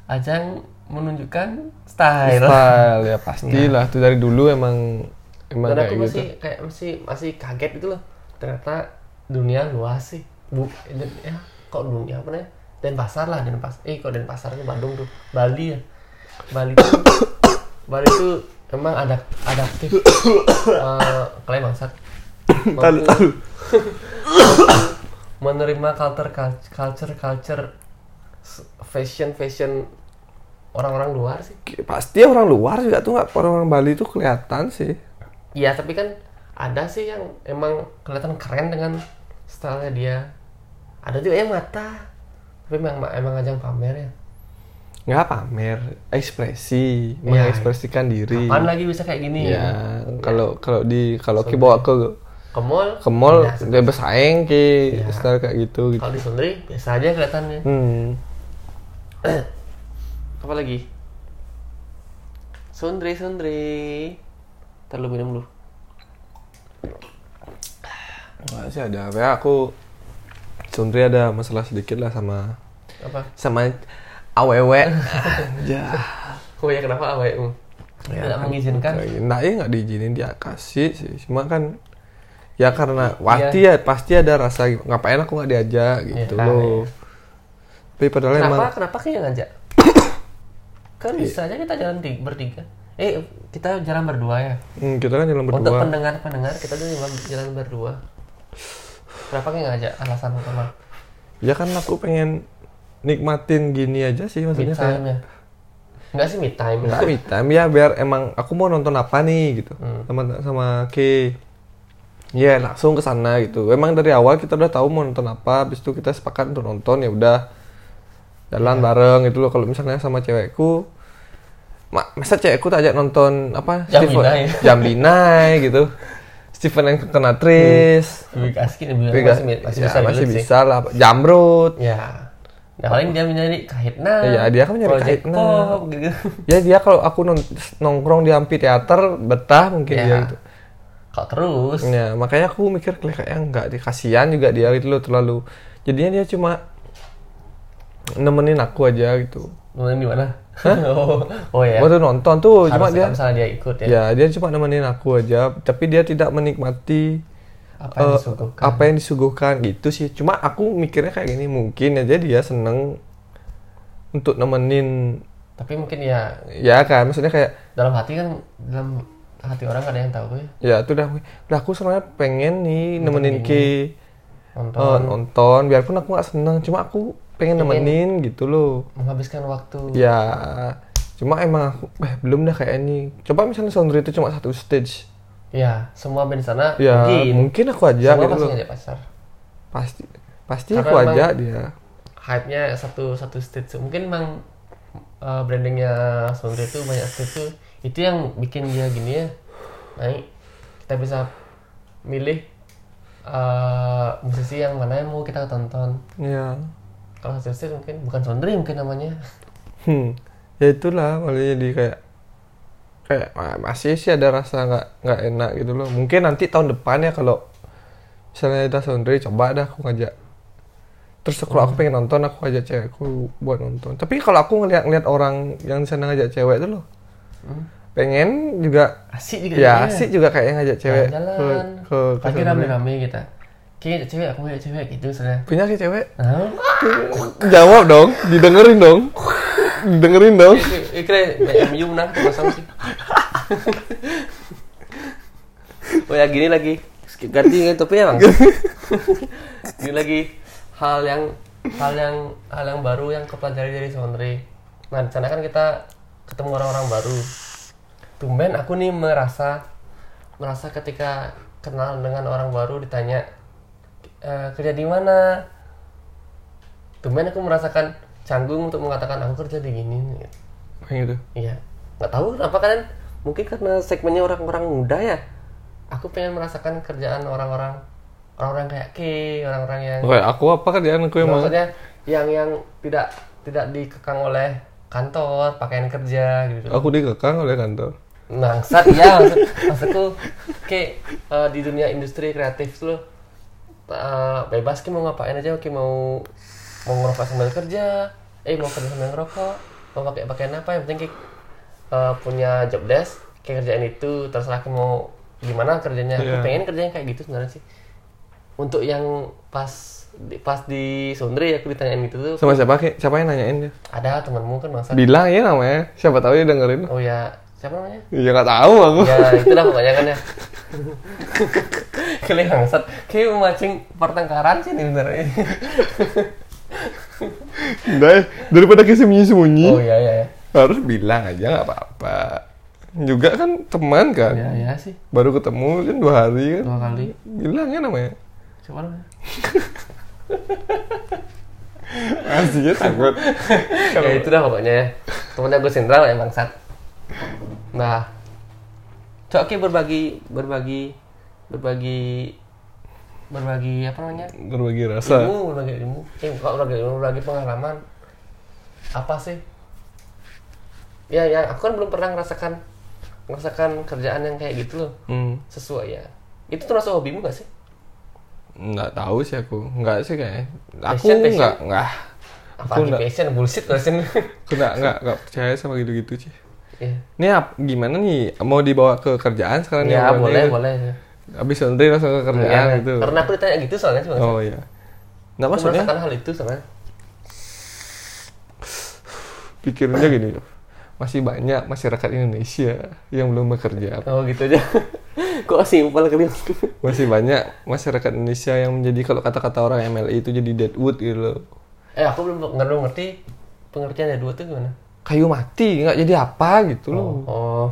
Speaker 1: ajang menunjukkan style.
Speaker 2: style ya pastilah tuh dari dulu emang emang
Speaker 1: Dan aku
Speaker 2: kayak gitu
Speaker 1: masih kayak masih masih kaget gitu loh. Ternyata dunia luas sih. Bu, ya, kok dunia apa namanya? Denpasar lah, Denpasar. Eh, kok Denpasar tuh Bandung tuh. Bali ya. Bali tuh <coughs> Bali tuh emang ada adaptif. <coughs> Eh, kalian bangsat.
Speaker 2: <laughs>
Speaker 1: Mampu- menerima culture cul- culture culture s- fashion fashion orang-orang luar sih
Speaker 2: pasti orang luar juga tuh nggak orang orang Bali tuh kelihatan sih
Speaker 1: iya tapi kan ada sih yang emang kelihatan keren dengan stylenya dia ada juga yang mata tapi emang emang ajang pamer ya
Speaker 2: nggak pamer ekspresi
Speaker 1: Ya.
Speaker 2: mengekspresikan diri
Speaker 1: kapan lagi bisa kayak gini
Speaker 2: ya kalau kalau di kalau ki bawa ke
Speaker 1: ke mall
Speaker 2: ke mall
Speaker 1: biasa.
Speaker 2: dia bersaing ki
Speaker 1: Ya.
Speaker 2: style kayak gitu gitu
Speaker 1: kalau di Sundri biasa aja kelihatannya
Speaker 2: hmm.
Speaker 1: apa lagi Sundri Sundri terlalu minum dulu
Speaker 2: Nggak sih ada apa ya aku Sundri ada masalah sedikit lah sama
Speaker 1: apa
Speaker 2: sama <laughs> aww ya
Speaker 1: oh ya kenapa awak ya, tidak mengizinkan
Speaker 2: Nah, ya nggak diizinin dia kasih sih. Cuma kan ya karena
Speaker 1: Iya.
Speaker 2: pasti ya pasti ada rasa ngapain aku nggak diajak gitu
Speaker 1: Iya,
Speaker 2: loh. Tapi padahal
Speaker 1: Kenapa?
Speaker 2: emang <coughs> Iya.
Speaker 1: Kenapa kayak ngajak? kan bisa aja kita jalan ti- bertiga. Eh Eh, kita jalan berdua ya.
Speaker 2: Hmm, kita kan jalan
Speaker 1: Untuk
Speaker 2: berdua.
Speaker 1: pendengar-pendengar kita tuh jalan, jalan berdua. Kenapa kayak nggak ajak alasan utama?
Speaker 2: Ya kan aku pengen nikmatin gini aja sih
Speaker 1: Me
Speaker 2: maksudnya
Speaker 1: time
Speaker 2: kayak
Speaker 1: ya. Enggak sih me time.
Speaker 2: nggak me time ya biar emang aku mau nonton apa nih gitu
Speaker 1: Hmm.
Speaker 2: sama sama K. Ya langsung ke sana gitu. Emang dari awal kita udah tahu mau nonton apa, habis itu kita sepakat untuk nonton ya udah
Speaker 1: Iya.
Speaker 2: jalan bareng gitu loh. Kalau misalnya sama cewekku, ma masa cewekku tak ajak nonton apa?
Speaker 1: Jam ya? Linai.
Speaker 2: Jam Linai gitu. Stephen and Kekenatris.
Speaker 1: Big Askin lebih
Speaker 2: Tapi
Speaker 1: Hmm. masih,
Speaker 2: nggak-
Speaker 1: masih
Speaker 2: ya,
Speaker 1: bisa
Speaker 2: masih
Speaker 1: relate sih.
Speaker 2: bisa lah jamrut
Speaker 1: Ya. Nah, paling dia mencari kahitna.
Speaker 2: Iya, dia kan mencari
Speaker 1: Project
Speaker 2: kahitna.
Speaker 1: Pop, gitu. <laughs>
Speaker 2: ya dia kalau aku non- nongkrong di amfiteater betah mungkin
Speaker 1: Ya.
Speaker 2: dia gitu
Speaker 1: Kok terus?
Speaker 2: ya makanya aku mikir kayak kayaknya enggak deh kasihan juga dia gitu loh terlalu jadinya dia cuma nemenin aku aja gitu
Speaker 1: Nonton di mana? <laughs> oh, oh ya.
Speaker 2: waktu nonton tuh
Speaker 1: Harus
Speaker 2: cuma dia
Speaker 1: kalau misalnya dia ikut ya.
Speaker 2: ya dia cuma nemenin aku aja tapi dia tidak menikmati
Speaker 1: Apa yang
Speaker 2: eh,
Speaker 1: disuguhkan?
Speaker 2: apa yang disuguhkan gitu sih cuma aku mikirnya kayak gini mungkin aja dia seneng untuk nemenin
Speaker 1: Tapi mungkin ya
Speaker 2: ya kan maksudnya kayak
Speaker 1: dalam hati kan dalam hati orang gak ada yang tahu ya.
Speaker 2: ya itu udah udah aku sebenarnya pengen nih nemenin Ki eh,
Speaker 1: Nonton
Speaker 2: nonton biarpun aku nggak seneng cuma aku pengen nemenin gitu loh
Speaker 1: menghabiskan waktu.
Speaker 2: ya cuma emang aku eh belum dah kayak ini coba misalnya Sondre itu cuma satu stage
Speaker 1: Ya, semua band di sana
Speaker 2: ya
Speaker 1: mungkin.
Speaker 2: mungkin, aku aja
Speaker 1: semua
Speaker 2: gitu
Speaker 1: pasti
Speaker 2: loh
Speaker 1: ngajak pacar.
Speaker 2: pasti pasti
Speaker 1: Karena
Speaker 2: aku
Speaker 1: emang-
Speaker 2: aja dia
Speaker 1: Hype-nya satu satu stage. Mungkin emang eh, brandingnya Sondre itu banyak stage tuh. Itu yang bikin dia gini ya. Naik. Kita bisa milih eh, musisi yang mana yang mau kita tonton.
Speaker 2: ya
Speaker 1: Kalau satu stage mungkin bukan Sondre mungkin namanya.
Speaker 2: hmm ya itulah malah jadi kayak kayak ah, masih sih ada rasa nggak nggak enak gitu loh mungkin nanti tahun depan ya kalau misalnya ada Sondre coba dah aku ngajak terus kalau
Speaker 1: Hmm.
Speaker 2: aku pengen nonton aku ajak cewekku buat nonton tapi kalau aku ngeliat-ngeliat orang yang di sana ngajak cewek itu loh
Speaker 1: Hmm.
Speaker 2: pengen juga
Speaker 1: Asik juga
Speaker 2: ya
Speaker 1: jadinya.
Speaker 2: asik juga kayaknya ngajak cewek ke
Speaker 1: Iya. Jalan-jalan.
Speaker 2: ke, ke
Speaker 1: Pasti
Speaker 2: Sondre.
Speaker 1: rame-rame kita. Kayak cewek, aku punya cewek gitu misalnya.
Speaker 2: punya sih cewek
Speaker 1: Nah,
Speaker 2: jawab dong didengerin dong didengerin dong
Speaker 1: Ini kira MU menang tuh kosong sih. Oh ya gini lagi Skip- ganti ganti topi ya bang. gini lagi hal yang hal yang hal yang baru yang kepelajari dari Sondre. Nah di sana kan kita ketemu orang-orang baru. Tumben aku nih merasa merasa ketika kenal dengan orang baru ditanya "Eh, kerja di mana. Tumben aku merasakan canggung untuk mengatakan aku kerja di gini. gitu.
Speaker 2: kayak gitu
Speaker 1: Iya. Nggak tahu kenapa kalian mungkin karena segmennya orang-orang muda ya. Aku pengen merasakan kerjaan orang-orang orang-orang kayak K, orang-orang yang
Speaker 2: Oke, aku apa kerjaan aku emang
Speaker 1: maksudnya yang yang tidak tidak dikekang oleh kantor, pakaian kerja gitu.
Speaker 2: aku dikekang oleh kantor.
Speaker 1: Bangsat ya maksud, maksudku kayak eh, di dunia industri kreatif tuh eh, bebas ki mau ngapain aja ki mau mau ngerokok sambil kerja eh mau kerja sambil ngerokok mau pakai pakaian apa yang penting ki eh, punya job desk ki kerjaan itu terserah ki mau gimana kerjanya aku
Speaker 2: Iya.
Speaker 1: pengen kerjanya kayak gitu sebenarnya sih untuk yang pas di, pas di Sundri aku ditanyain gitu tuh
Speaker 2: Sama siapa Ki? Siapa yang nanyain dia?
Speaker 1: ada temanmu kan bangsat
Speaker 2: Dila ya namanya. Siapa tahu dia dengerin.
Speaker 1: oh ya siapa namanya
Speaker 2: Ya nggak tahu aku.
Speaker 1: ya itulah pokoknya <laughs> kan ya kalian bangsat kayak memancing pertengkaran sih nih sebenarnya
Speaker 2: Udah, daripada Ki
Speaker 1: oh
Speaker 2: sembunyi-sembunyi,
Speaker 1: iya iya iya.
Speaker 2: harus bilang aja nggak apa-apa. Juga kan teman kan.
Speaker 1: iya iya sih
Speaker 2: Baru ketemu kan dua hari kan.
Speaker 1: dua kali
Speaker 2: Bilang ya namanya.
Speaker 1: coba namanya
Speaker 2: Aslinya takut.
Speaker 1: ya itu dah pokoknya ya temennya gue sentral ya bangsat nah coba oke berbagi berbagi berbagi berbagi apa namanya
Speaker 2: Berbagi rasa.
Speaker 1: ilmu berbagi ilmu eh bukan berbagi ilmu berbagi pengalaman apa sih ya ya aku kan belum pernah ngerasakan ngerasakan kerjaan yang kayak gitu loh
Speaker 2: Hmm.
Speaker 1: sesuai ya itu termasuk hobimu gak sih
Speaker 2: Nggak tahu sih aku. Nggak sih kayaknya. Aku
Speaker 1: Passion, passion.
Speaker 2: nggak nggak.
Speaker 1: apa
Speaker 2: enggak.
Speaker 1: passion bullshit
Speaker 2: <laughs>
Speaker 1: passion
Speaker 2: Aku nggak nggak nggak percaya sama gitu-gitu sih.
Speaker 1: ya,
Speaker 2: Ini ap- gimana nih? Mau dibawa ke kerjaan sekarang nih
Speaker 1: ya
Speaker 2: obrolannya?
Speaker 1: boleh boleh
Speaker 2: Habis nanti langsung ke kerjaan
Speaker 1: Ya,
Speaker 2: gitu.
Speaker 1: karena aku ditanya gitu soalnya cuma
Speaker 2: Oh iya. Nah
Speaker 1: aku
Speaker 2: maksudnya
Speaker 1: merasakan hal itu soalnya
Speaker 2: pikirannya gini. masih banyak masyarakat Indonesia yang belum bekerja.
Speaker 1: Oh gitu
Speaker 2: <laughs>
Speaker 1: aja. Kok simpel kali.
Speaker 2: Masih banyak masyarakat Indonesia yang menjadi kalau kata-kata orang MLI itu jadi deadwood gitu loh.
Speaker 1: <laughs> eh aku belum nggak belum ngerti pengertian dua tuh gimana.
Speaker 2: Kayu mati, nggak jadi apa gitu loh.
Speaker 1: Oh,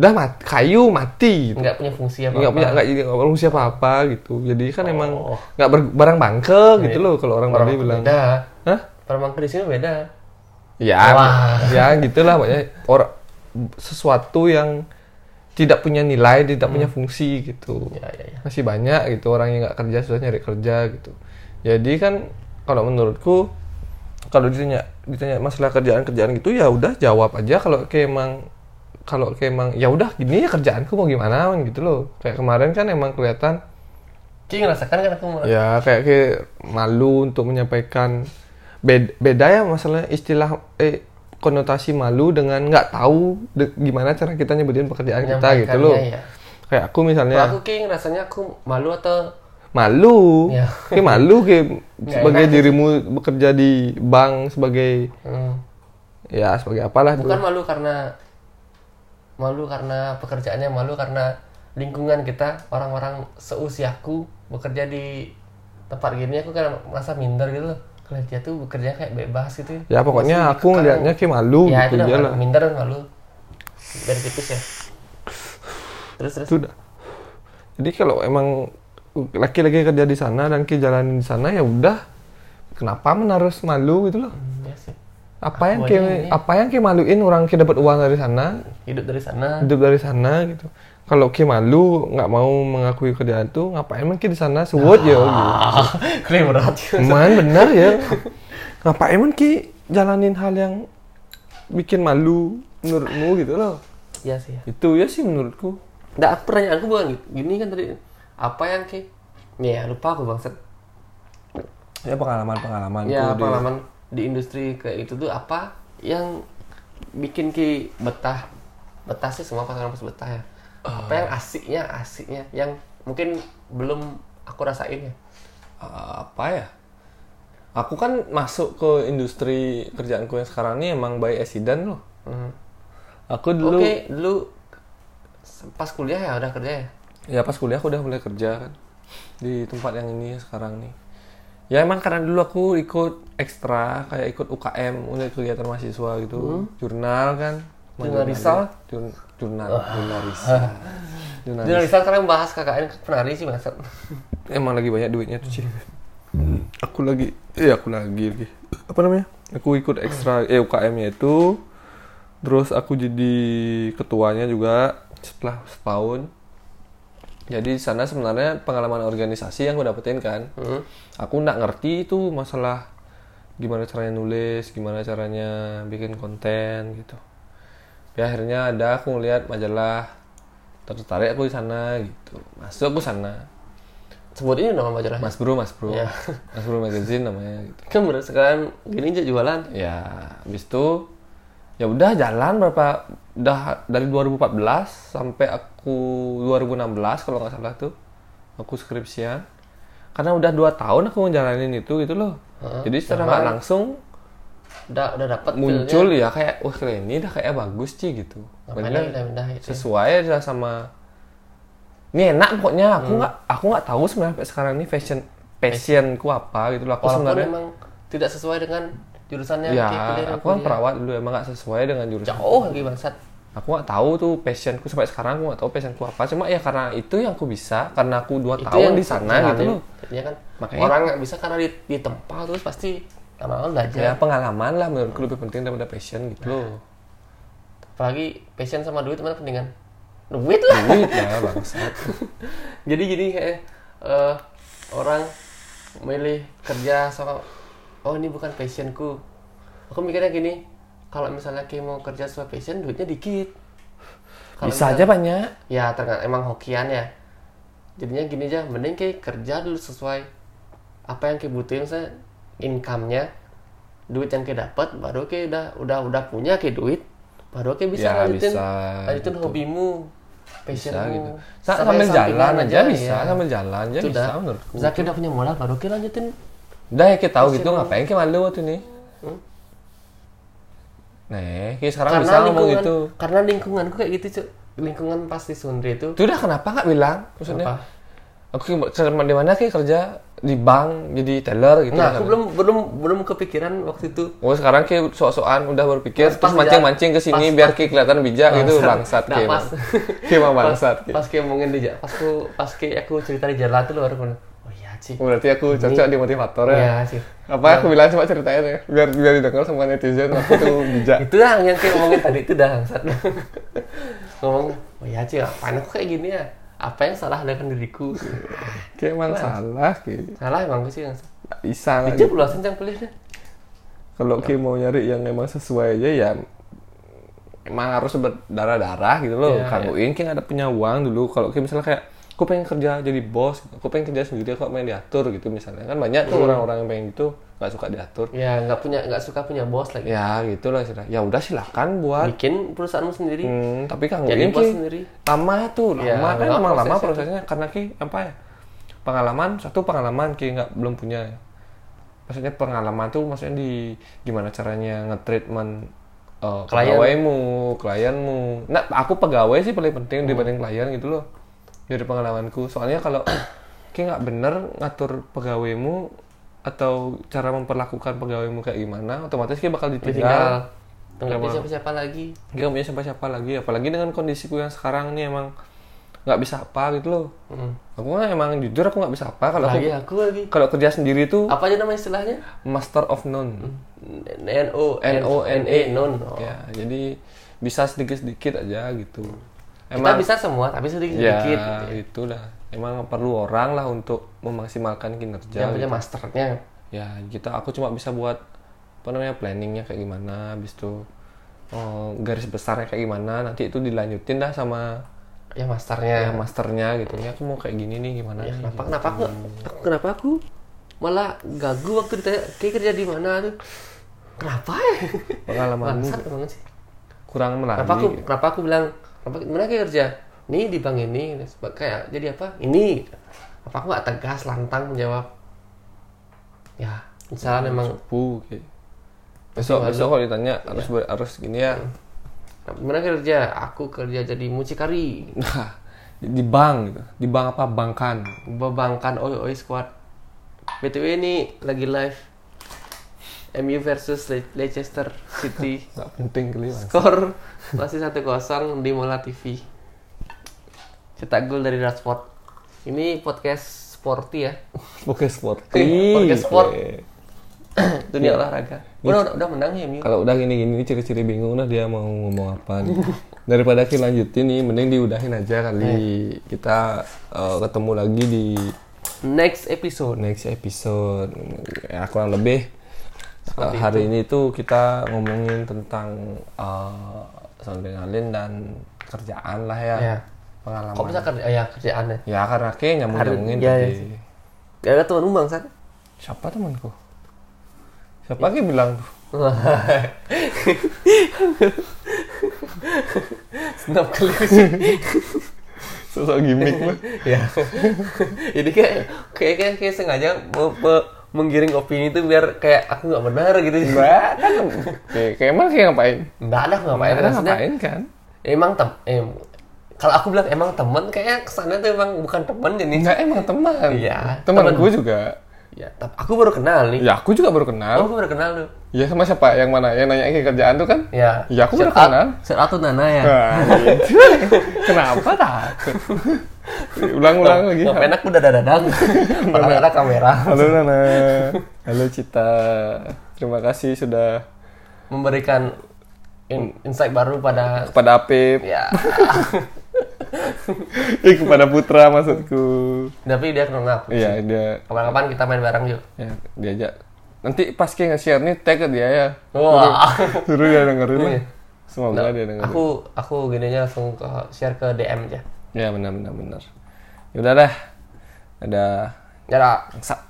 Speaker 2: Udah mat- kayu mati gitu.
Speaker 1: nggak punya fungsi apa?
Speaker 2: Nggak punya, nggak jadi nggak perlu siapa apa gitu. Jadi kan emang
Speaker 1: Oh.
Speaker 2: nggak ber- barang bangke gitu loh kalau orang Bali bilang.
Speaker 1: beda.
Speaker 2: Hah?
Speaker 1: Permangku di sini beda.
Speaker 2: Ya,
Speaker 1: Wah.
Speaker 2: ya gitulah pokoknya orang sesuatu yang tidak punya nilai, tidak punya fungsi gitu.
Speaker 1: Ya ya ya.
Speaker 2: masih banyak gitu orang yang nggak kerja sudah nyari kerja gitu jadi kan kalau menurutku kalau ditanya ditanya masalah kerjaan kerjaan gitu ya udah jawab aja kalau kayak emang kalau kayak emang ya udah gini ya kerjaanku mau gimana man," gitu loh kayak kemarin kan emang kelihatan
Speaker 1: Ci ngerasakan kan aku malah.
Speaker 2: ya kayak kayak malu untuk menyampaikan Bed- beda ya masalahnya istilah eh konotasi malu dengan nggak tahu de- gimana cara kita nyebutin pekerjaan kita gitu loh
Speaker 1: menyampaikannya, ya.
Speaker 2: kayak aku misalnya
Speaker 1: Kalau aku Ki rasanya aku malu atau
Speaker 2: malu
Speaker 1: Ya.
Speaker 2: kayak malu kayak
Speaker 1: <laughs> Nggak
Speaker 2: sebagai
Speaker 1: enak.
Speaker 2: dirimu bekerja di bank sebagai
Speaker 1: hmm,
Speaker 2: ya sebagai apalah
Speaker 1: bukan
Speaker 2: tuh.
Speaker 1: malu karena malu karena pekerjaannya malu karena lingkungan kita orang-orang seusiaku bekerja di tempat gini aku kan merasa minder gitu loh kalau dia tuh bekerja kayak bebas gitu
Speaker 2: ya pokoknya
Speaker 1: Masih
Speaker 2: aku
Speaker 1: dikekang.
Speaker 2: ngeliatnya kayak malu
Speaker 1: ya
Speaker 2: gitu
Speaker 1: itu
Speaker 2: dia
Speaker 1: udah
Speaker 2: lah
Speaker 1: minder dan malu dari tipis ya terus terus
Speaker 2: itu udah jadi kalau emang laki-laki kerja di sana dan ki jalan di sana ya udah kenapa men harus malu gitu loh
Speaker 1: Hmm, ya sih.
Speaker 2: apa yang
Speaker 1: Aku
Speaker 2: kayak
Speaker 1: aja ini.
Speaker 2: apa yang kayak maluin orang kayak dapat uang dari sana
Speaker 1: hidup dari sana
Speaker 2: hidup dari sana gitu kalau kayak malu nggak mau mengakui kerjaan tuh ngapain mungkin di sana sewot ya gitu
Speaker 1: ah <laughs> keren berat
Speaker 2: Man bener ya. Ngapain man ki jalanin hal yang bikin malu menurutmu gitu loh.
Speaker 1: ya sih ya.
Speaker 2: Itu ya sih menurutku.
Speaker 1: Nggak, aku pertanyaanku bukan gitu. gini kan tadi. Apa yang ki? Ya, lupa aku bangsat.
Speaker 2: Ya pengalaman-pengalaman
Speaker 1: Ya, pengalaman di industri kayak itu tuh apa yang bikin ki betah? Betah sih semua pasangan pasti betah ya. Apa yang
Speaker 2: Ah.
Speaker 1: asiknya, asiknya yang mungkin belum aku rasain ya.
Speaker 2: apa ya? Aku kan masuk ke industri kerjaanku yang sekarang ini emang by accident loh.
Speaker 1: Hmm.
Speaker 2: Aku
Speaker 1: Oke,
Speaker 2: dulu
Speaker 1: dulu pas kuliah ya udah kerja ya.
Speaker 2: ya pas kuliah aku udah mulai kerja kan di tempat yang ini sekarang nih. Ya emang karena dulu aku ikut ekstra kayak ikut UKM, mulai kegiatan mahasiswa gitu, jurnal kan.
Speaker 1: Jurnalisal?
Speaker 2: Jur- jurnal, jurnalisal. Jurnalis.
Speaker 1: Jurnalisal sekarang bahas KKN penari sih bangsat.
Speaker 2: Emang lagi banyak duitnya tuh, Cih. Aku lagi, iya aku lagi lagi. Apa namanya? Aku ikut ekstra eh, UKM-nya itu. Terus aku jadi ketuanya juga setelah setahun. Jadi di sana sebenarnya pengalaman organisasi yang aku dapetin kan.
Speaker 1: Hmm.
Speaker 2: Aku nggak ngerti itu masalah gimana caranya nulis, gimana caranya bikin konten gitu. Ya akhirnya ada aku ngeliat majalah tertarik aku di sana gitu. Masuk aku sana.
Speaker 1: Sebut ini nama majalahnya.
Speaker 2: Mas Bro, Mas Bro.
Speaker 1: Ya.
Speaker 2: Mas Bro Magazine namanya gitu.
Speaker 1: Kan bener sekarang gini aja jualan.
Speaker 2: Ya, habis itu ya udah jalan berapa udah dari 2014 sampai aku 2016 kalau nggak salah tuh aku skripsian karena udah dua tahun aku ngejalanin itu gitu loh
Speaker 1: Heeh,
Speaker 2: jadi secara nggak
Speaker 1: nyaman.
Speaker 2: langsung
Speaker 1: Udah udah dapat
Speaker 2: muncul ya kayak wah keren ini dah kayak bagus sih gitu
Speaker 1: Makanya
Speaker 2: Bener.
Speaker 1: pindah-pindah gitu.
Speaker 2: sesuai aja sama ini enak pokoknya aku nggak aku nggak tahu sebenarnya sampai sekarang ini fashion passionku apa gitu loh aku
Speaker 1: Walaupun
Speaker 2: sebenarnya
Speaker 1: memang tidak sesuai dengan jurusannya
Speaker 2: ya
Speaker 1: Iya, kayak kuliah dan
Speaker 2: aku kan
Speaker 1: kuliah.
Speaker 2: perawat dulu emang nggak sesuai dengan jurusan
Speaker 1: jauh lagi bangsat
Speaker 2: aku nggak tahu tuh passionku sampai sekarang aku nggak tahu passionku apa cuma ya karena itu yang aku bisa karena aku dua tahun di sana gitu
Speaker 1: jalanin.
Speaker 2: loh
Speaker 1: Jadinya kan
Speaker 2: Makanya-
Speaker 1: orang nggak bisa karena di, di tempat terus pasti lama-lama belajar
Speaker 2: ya pengalaman lah menurutku lebih penting daripada passion gitu
Speaker 1: <laughs>
Speaker 2: loh
Speaker 1: apalagi passion sama duit mana penting kan duit lah
Speaker 2: duit lah bangsat
Speaker 1: jadi gini kayak eh, orang milih kerja sama oh ini bukan passionku aku mikirnya gini kalau misalnya kayak mau kerja sesuai passion duitnya dikit Kalau misalnya-
Speaker 2: bisa aja banyak
Speaker 1: ya ternyata emang hokian ya jadinya gini aja mending kayak kerja dulu sesuai apa yang kayak butuhin saya income-nya duit yang kayak dapat baru kayak udah udah udah punya kayak duit baru kayak bisa
Speaker 2: Ya,
Speaker 1: lanjutin
Speaker 2: bisa,
Speaker 1: lanjutin
Speaker 2: gitu.
Speaker 1: hobimu
Speaker 2: bisa
Speaker 1: passionmu
Speaker 2: gitu Sa- sambil jalan aja bisa sambil jalan aja
Speaker 1: iya, itu
Speaker 2: bisa
Speaker 1: udah
Speaker 2: menurutku
Speaker 1: Zaki udah punya modal baru kayak lanjutin
Speaker 2: udah ya kita tahu gitu ngapain kayak malu tuh nih Nah, kayak sekarang
Speaker 1: Hmm? karena
Speaker 2: bisa ngomong
Speaker 1: lingkungan
Speaker 2: gitu.
Speaker 1: karena lingkunganku kayak gitu cuy lingkungan pasti Sundri itu
Speaker 2: Itu udah kenapa nggak bilang? Maksudnya,
Speaker 1: apa
Speaker 2: aku kerja di mana kayak kerja di bank jadi teller gitu.
Speaker 1: nah aku
Speaker 2: misalnya.
Speaker 1: belum belum belum kepikiran waktu itu
Speaker 2: Oh sekarang kayak sok-sokan udah berpikir
Speaker 1: Pas-
Speaker 2: terus
Speaker 1: pas
Speaker 2: mancing-mancing ke sini
Speaker 1: pas-
Speaker 2: biar kayak kelihatan bijak gitu bangsat
Speaker 1: nah,
Speaker 2: kayak.
Speaker 1: pas <laughs>
Speaker 2: Kayak emang
Speaker 1: pas,
Speaker 2: bangsat. kayak.
Speaker 1: pas kayak ngomongin dia pas aku pas kayak aku cerita di jalan tuh baru aku bilang, oh iya cik
Speaker 2: Oh, Berarti aku cocok di motivator ya.
Speaker 1: iya cik
Speaker 2: Apa aku bilang coba ceritain ya biar biar didengar sama netizen aku tuh bijak.
Speaker 1: <laughs> itu dah yang kayak ngomongin tadi itu dah bangsat <laughs> ngomong oh iya cik apaan aku kayak gini ya apa yang salah dengan diriku
Speaker 2: Kayak emang salah kayak
Speaker 1: salah emang sih bangsat
Speaker 2: nggak bisa lah. gitu.
Speaker 1: itu belasan yang ya? pilih deh
Speaker 2: Kalau kayak mau nyari yang emang sesuai aja ya emang harus berdarah-darah gitu loh.
Speaker 1: Iya,
Speaker 2: Kaguin kayak nggak ada punya uang dulu. Kalau kayak misalnya kayak aku pengen kerja jadi bos, gitu, aku pengen kerja sendiri, aku pengen diatur gitu misalnya. Kan banyak
Speaker 1: Hmm.
Speaker 2: tuh orang-orang yang pengen gitu nggak suka diatur.
Speaker 1: ya nggak punya nggak suka punya bos lagi
Speaker 2: ya gitulah istilah ya udah silakan buat
Speaker 1: bikin perusahaanmu sendiri
Speaker 2: Hmm, tapi kang
Speaker 1: jadi
Speaker 2: ini
Speaker 1: bos
Speaker 2: ki
Speaker 1: sendiri
Speaker 2: lama tuh lama
Speaker 1: Ya,
Speaker 2: kan
Speaker 1: lama
Speaker 2: emang lama
Speaker 1: prosesnya
Speaker 2: prosesnya karena ki apa ya pengalaman satu pengalaman ki nggak belum punya maksudnya pengalaman tuh maksudnya di gimana caranya ngetreatment uh,
Speaker 1: Klien.
Speaker 2: pegawaimu klienmu nah aku pegawai sih paling
Speaker 1: Hmm.
Speaker 2: penting dibanding klien gitu loh dari pengalamanku soalnya kalau <clears throat> ki nggak bener ngatur pegawaimu atau cara memperlakukan pegawaimu kayak gimana otomatis ki bakal ditinggal
Speaker 1: ditinggal nggak punya siapa-siapa lagi
Speaker 2: dia nggak punya siapa-siapa lagi apalagi dengan kondisiku yang sekarang nih emang nggak bisa apa gitu loh
Speaker 1: Hmm.
Speaker 2: aku kan emang jujur aku nggak bisa apa kalau aku
Speaker 1: lagi aku lagi
Speaker 2: kalau kerja sendiri tuh
Speaker 1: apa aja nama istilahnya
Speaker 2: master of none
Speaker 1: N O N O N E non Oh.
Speaker 2: ya jadi bisa sedikit-sedikit aja gitu
Speaker 1: kita gitu
Speaker 2: emang
Speaker 1: bisa semua tapi sedikit
Speaker 2: ya
Speaker 1: sedikit
Speaker 2: itulah emang perlu orang lah untuk memaksimalkan kinerja
Speaker 1: yang punya
Speaker 2: gitu.
Speaker 1: masternya
Speaker 2: ya kita aku cuma bisa buat apa namanya planningnya kayak gimana habis itu eh, garis besarnya kayak gimana nanti itu dilanjutin dah sama
Speaker 1: ya masternya
Speaker 2: ya masternya gitu ya aku mau kayak gini nih gimana
Speaker 1: Ya,
Speaker 2: nih?
Speaker 1: kenapa kenapa aku, aku- kenapa aku malah gagu waktu ditanya kayak kerja di mana tuh kenapa
Speaker 2: <laughs>
Speaker 1: ya
Speaker 2: pengalamanmu
Speaker 1: Bangsat banget sih
Speaker 2: kurang gitu. menarik
Speaker 1: kenapa aku kenapa aku bilang kenapa mana kayak kerja ini di bank ini kayak jadi apa ini apa aku nggak tegas lantang menjawab ya
Speaker 2: Hmm.
Speaker 1: misalnya memang
Speaker 2: Pu, kayak. besok
Speaker 1: Masih
Speaker 2: besok kalau ditanya harus ber- harus gini ya
Speaker 1: mana kerja aku kerja jadi mucikari
Speaker 2: <laughs> nah di bank gitu di bank apa bangkan
Speaker 1: membangkan oi oi squad btw ini lagi live MU versus Le- Leicester <laughs> City
Speaker 2: nggak penting kali Bang.
Speaker 1: skor masih 1-0 di Mola TV cetak gol dari Rashford ini podcast sporty <laughs> ya
Speaker 2: Iya, Podcast sport
Speaker 1: Podcast sport.
Speaker 2: Oke.
Speaker 1: dunia olahraga udah, udah udah menang ya MU
Speaker 2: kalau udah gini gini ciri-ciri bingung lah dia mau ngomong apa nih. <laughs> daripada kita lanjutin nih mending diudahin aja kali kita eh, ketemu lagi di
Speaker 1: next episode
Speaker 2: next episode ya kurang lebih eh, hari ini tuh kita ngomongin tentang eh adrenalin dan kerjaan lah ya,
Speaker 1: Ya.
Speaker 2: pengalaman
Speaker 1: kok bisa kerja ya kerjaannya
Speaker 2: ya karena kayak nyambung nyambungin
Speaker 1: Iya, iya. gak ada teman umang <laughs> kan
Speaker 2: siapa temanku siapa lagi bilang
Speaker 1: snap kali
Speaker 2: sosok gimmick mah
Speaker 1: ya jadi kayak kayak kayak, kayak sengaja me- me- menggiring opini itu biar kayak aku nggak benar gitu
Speaker 2: enggak kan kayak kayak emang kayak ngapain
Speaker 1: nggak ada aku ngapain
Speaker 2: Kadang
Speaker 1: Ya, maksudnya
Speaker 2: ngapain kan
Speaker 1: emang tem em, kalau aku bilang emang temen kayaknya kesannya tuh emang bukan temen jadi
Speaker 2: enggak emang teman
Speaker 1: Iya,
Speaker 2: temanku
Speaker 1: teman.
Speaker 2: juga
Speaker 1: ya tapi aku baru kenal nih
Speaker 2: ya aku juga baru kenal
Speaker 1: aku baru kenal lu
Speaker 2: ya sama siapa yang mana yang nanya kayak kerjaan tuh kan
Speaker 1: ya
Speaker 2: Ya, aku baru
Speaker 1: Shout out-
Speaker 2: kenal.
Speaker 1: shout out to Nana ya
Speaker 2: Nah, gitu. Kenapa takut? <laughs> Ulang-ulang lagi.
Speaker 1: ngapain aku udah
Speaker 2: <laughs>
Speaker 1: dadang malah nggak ada kamera
Speaker 2: Halo Nana. Halo Cita. Terima kasih sudah
Speaker 1: memberikan in- insight baru pada
Speaker 2: kepada Apip, <laughs>
Speaker 1: ya Iya.
Speaker 2: eh, kepada Putra maksudku.
Speaker 1: tapi dia kenal aku
Speaker 2: Iya, dia
Speaker 1: kapan-kapan kita main bareng yuk
Speaker 2: ya, diajak. Nanti pas kayak nge-share nih tag ke dia ya.
Speaker 1: wah Iya. Nah,
Speaker 2: Suruh dia dengerin lah. Semoga dia dengerin.
Speaker 1: aku aku gininya langsung ke, share ke DM aja
Speaker 2: Iya, Ya benar benar benar. Yaudah dah. Ada
Speaker 1: jarak
Speaker 2: bangsat.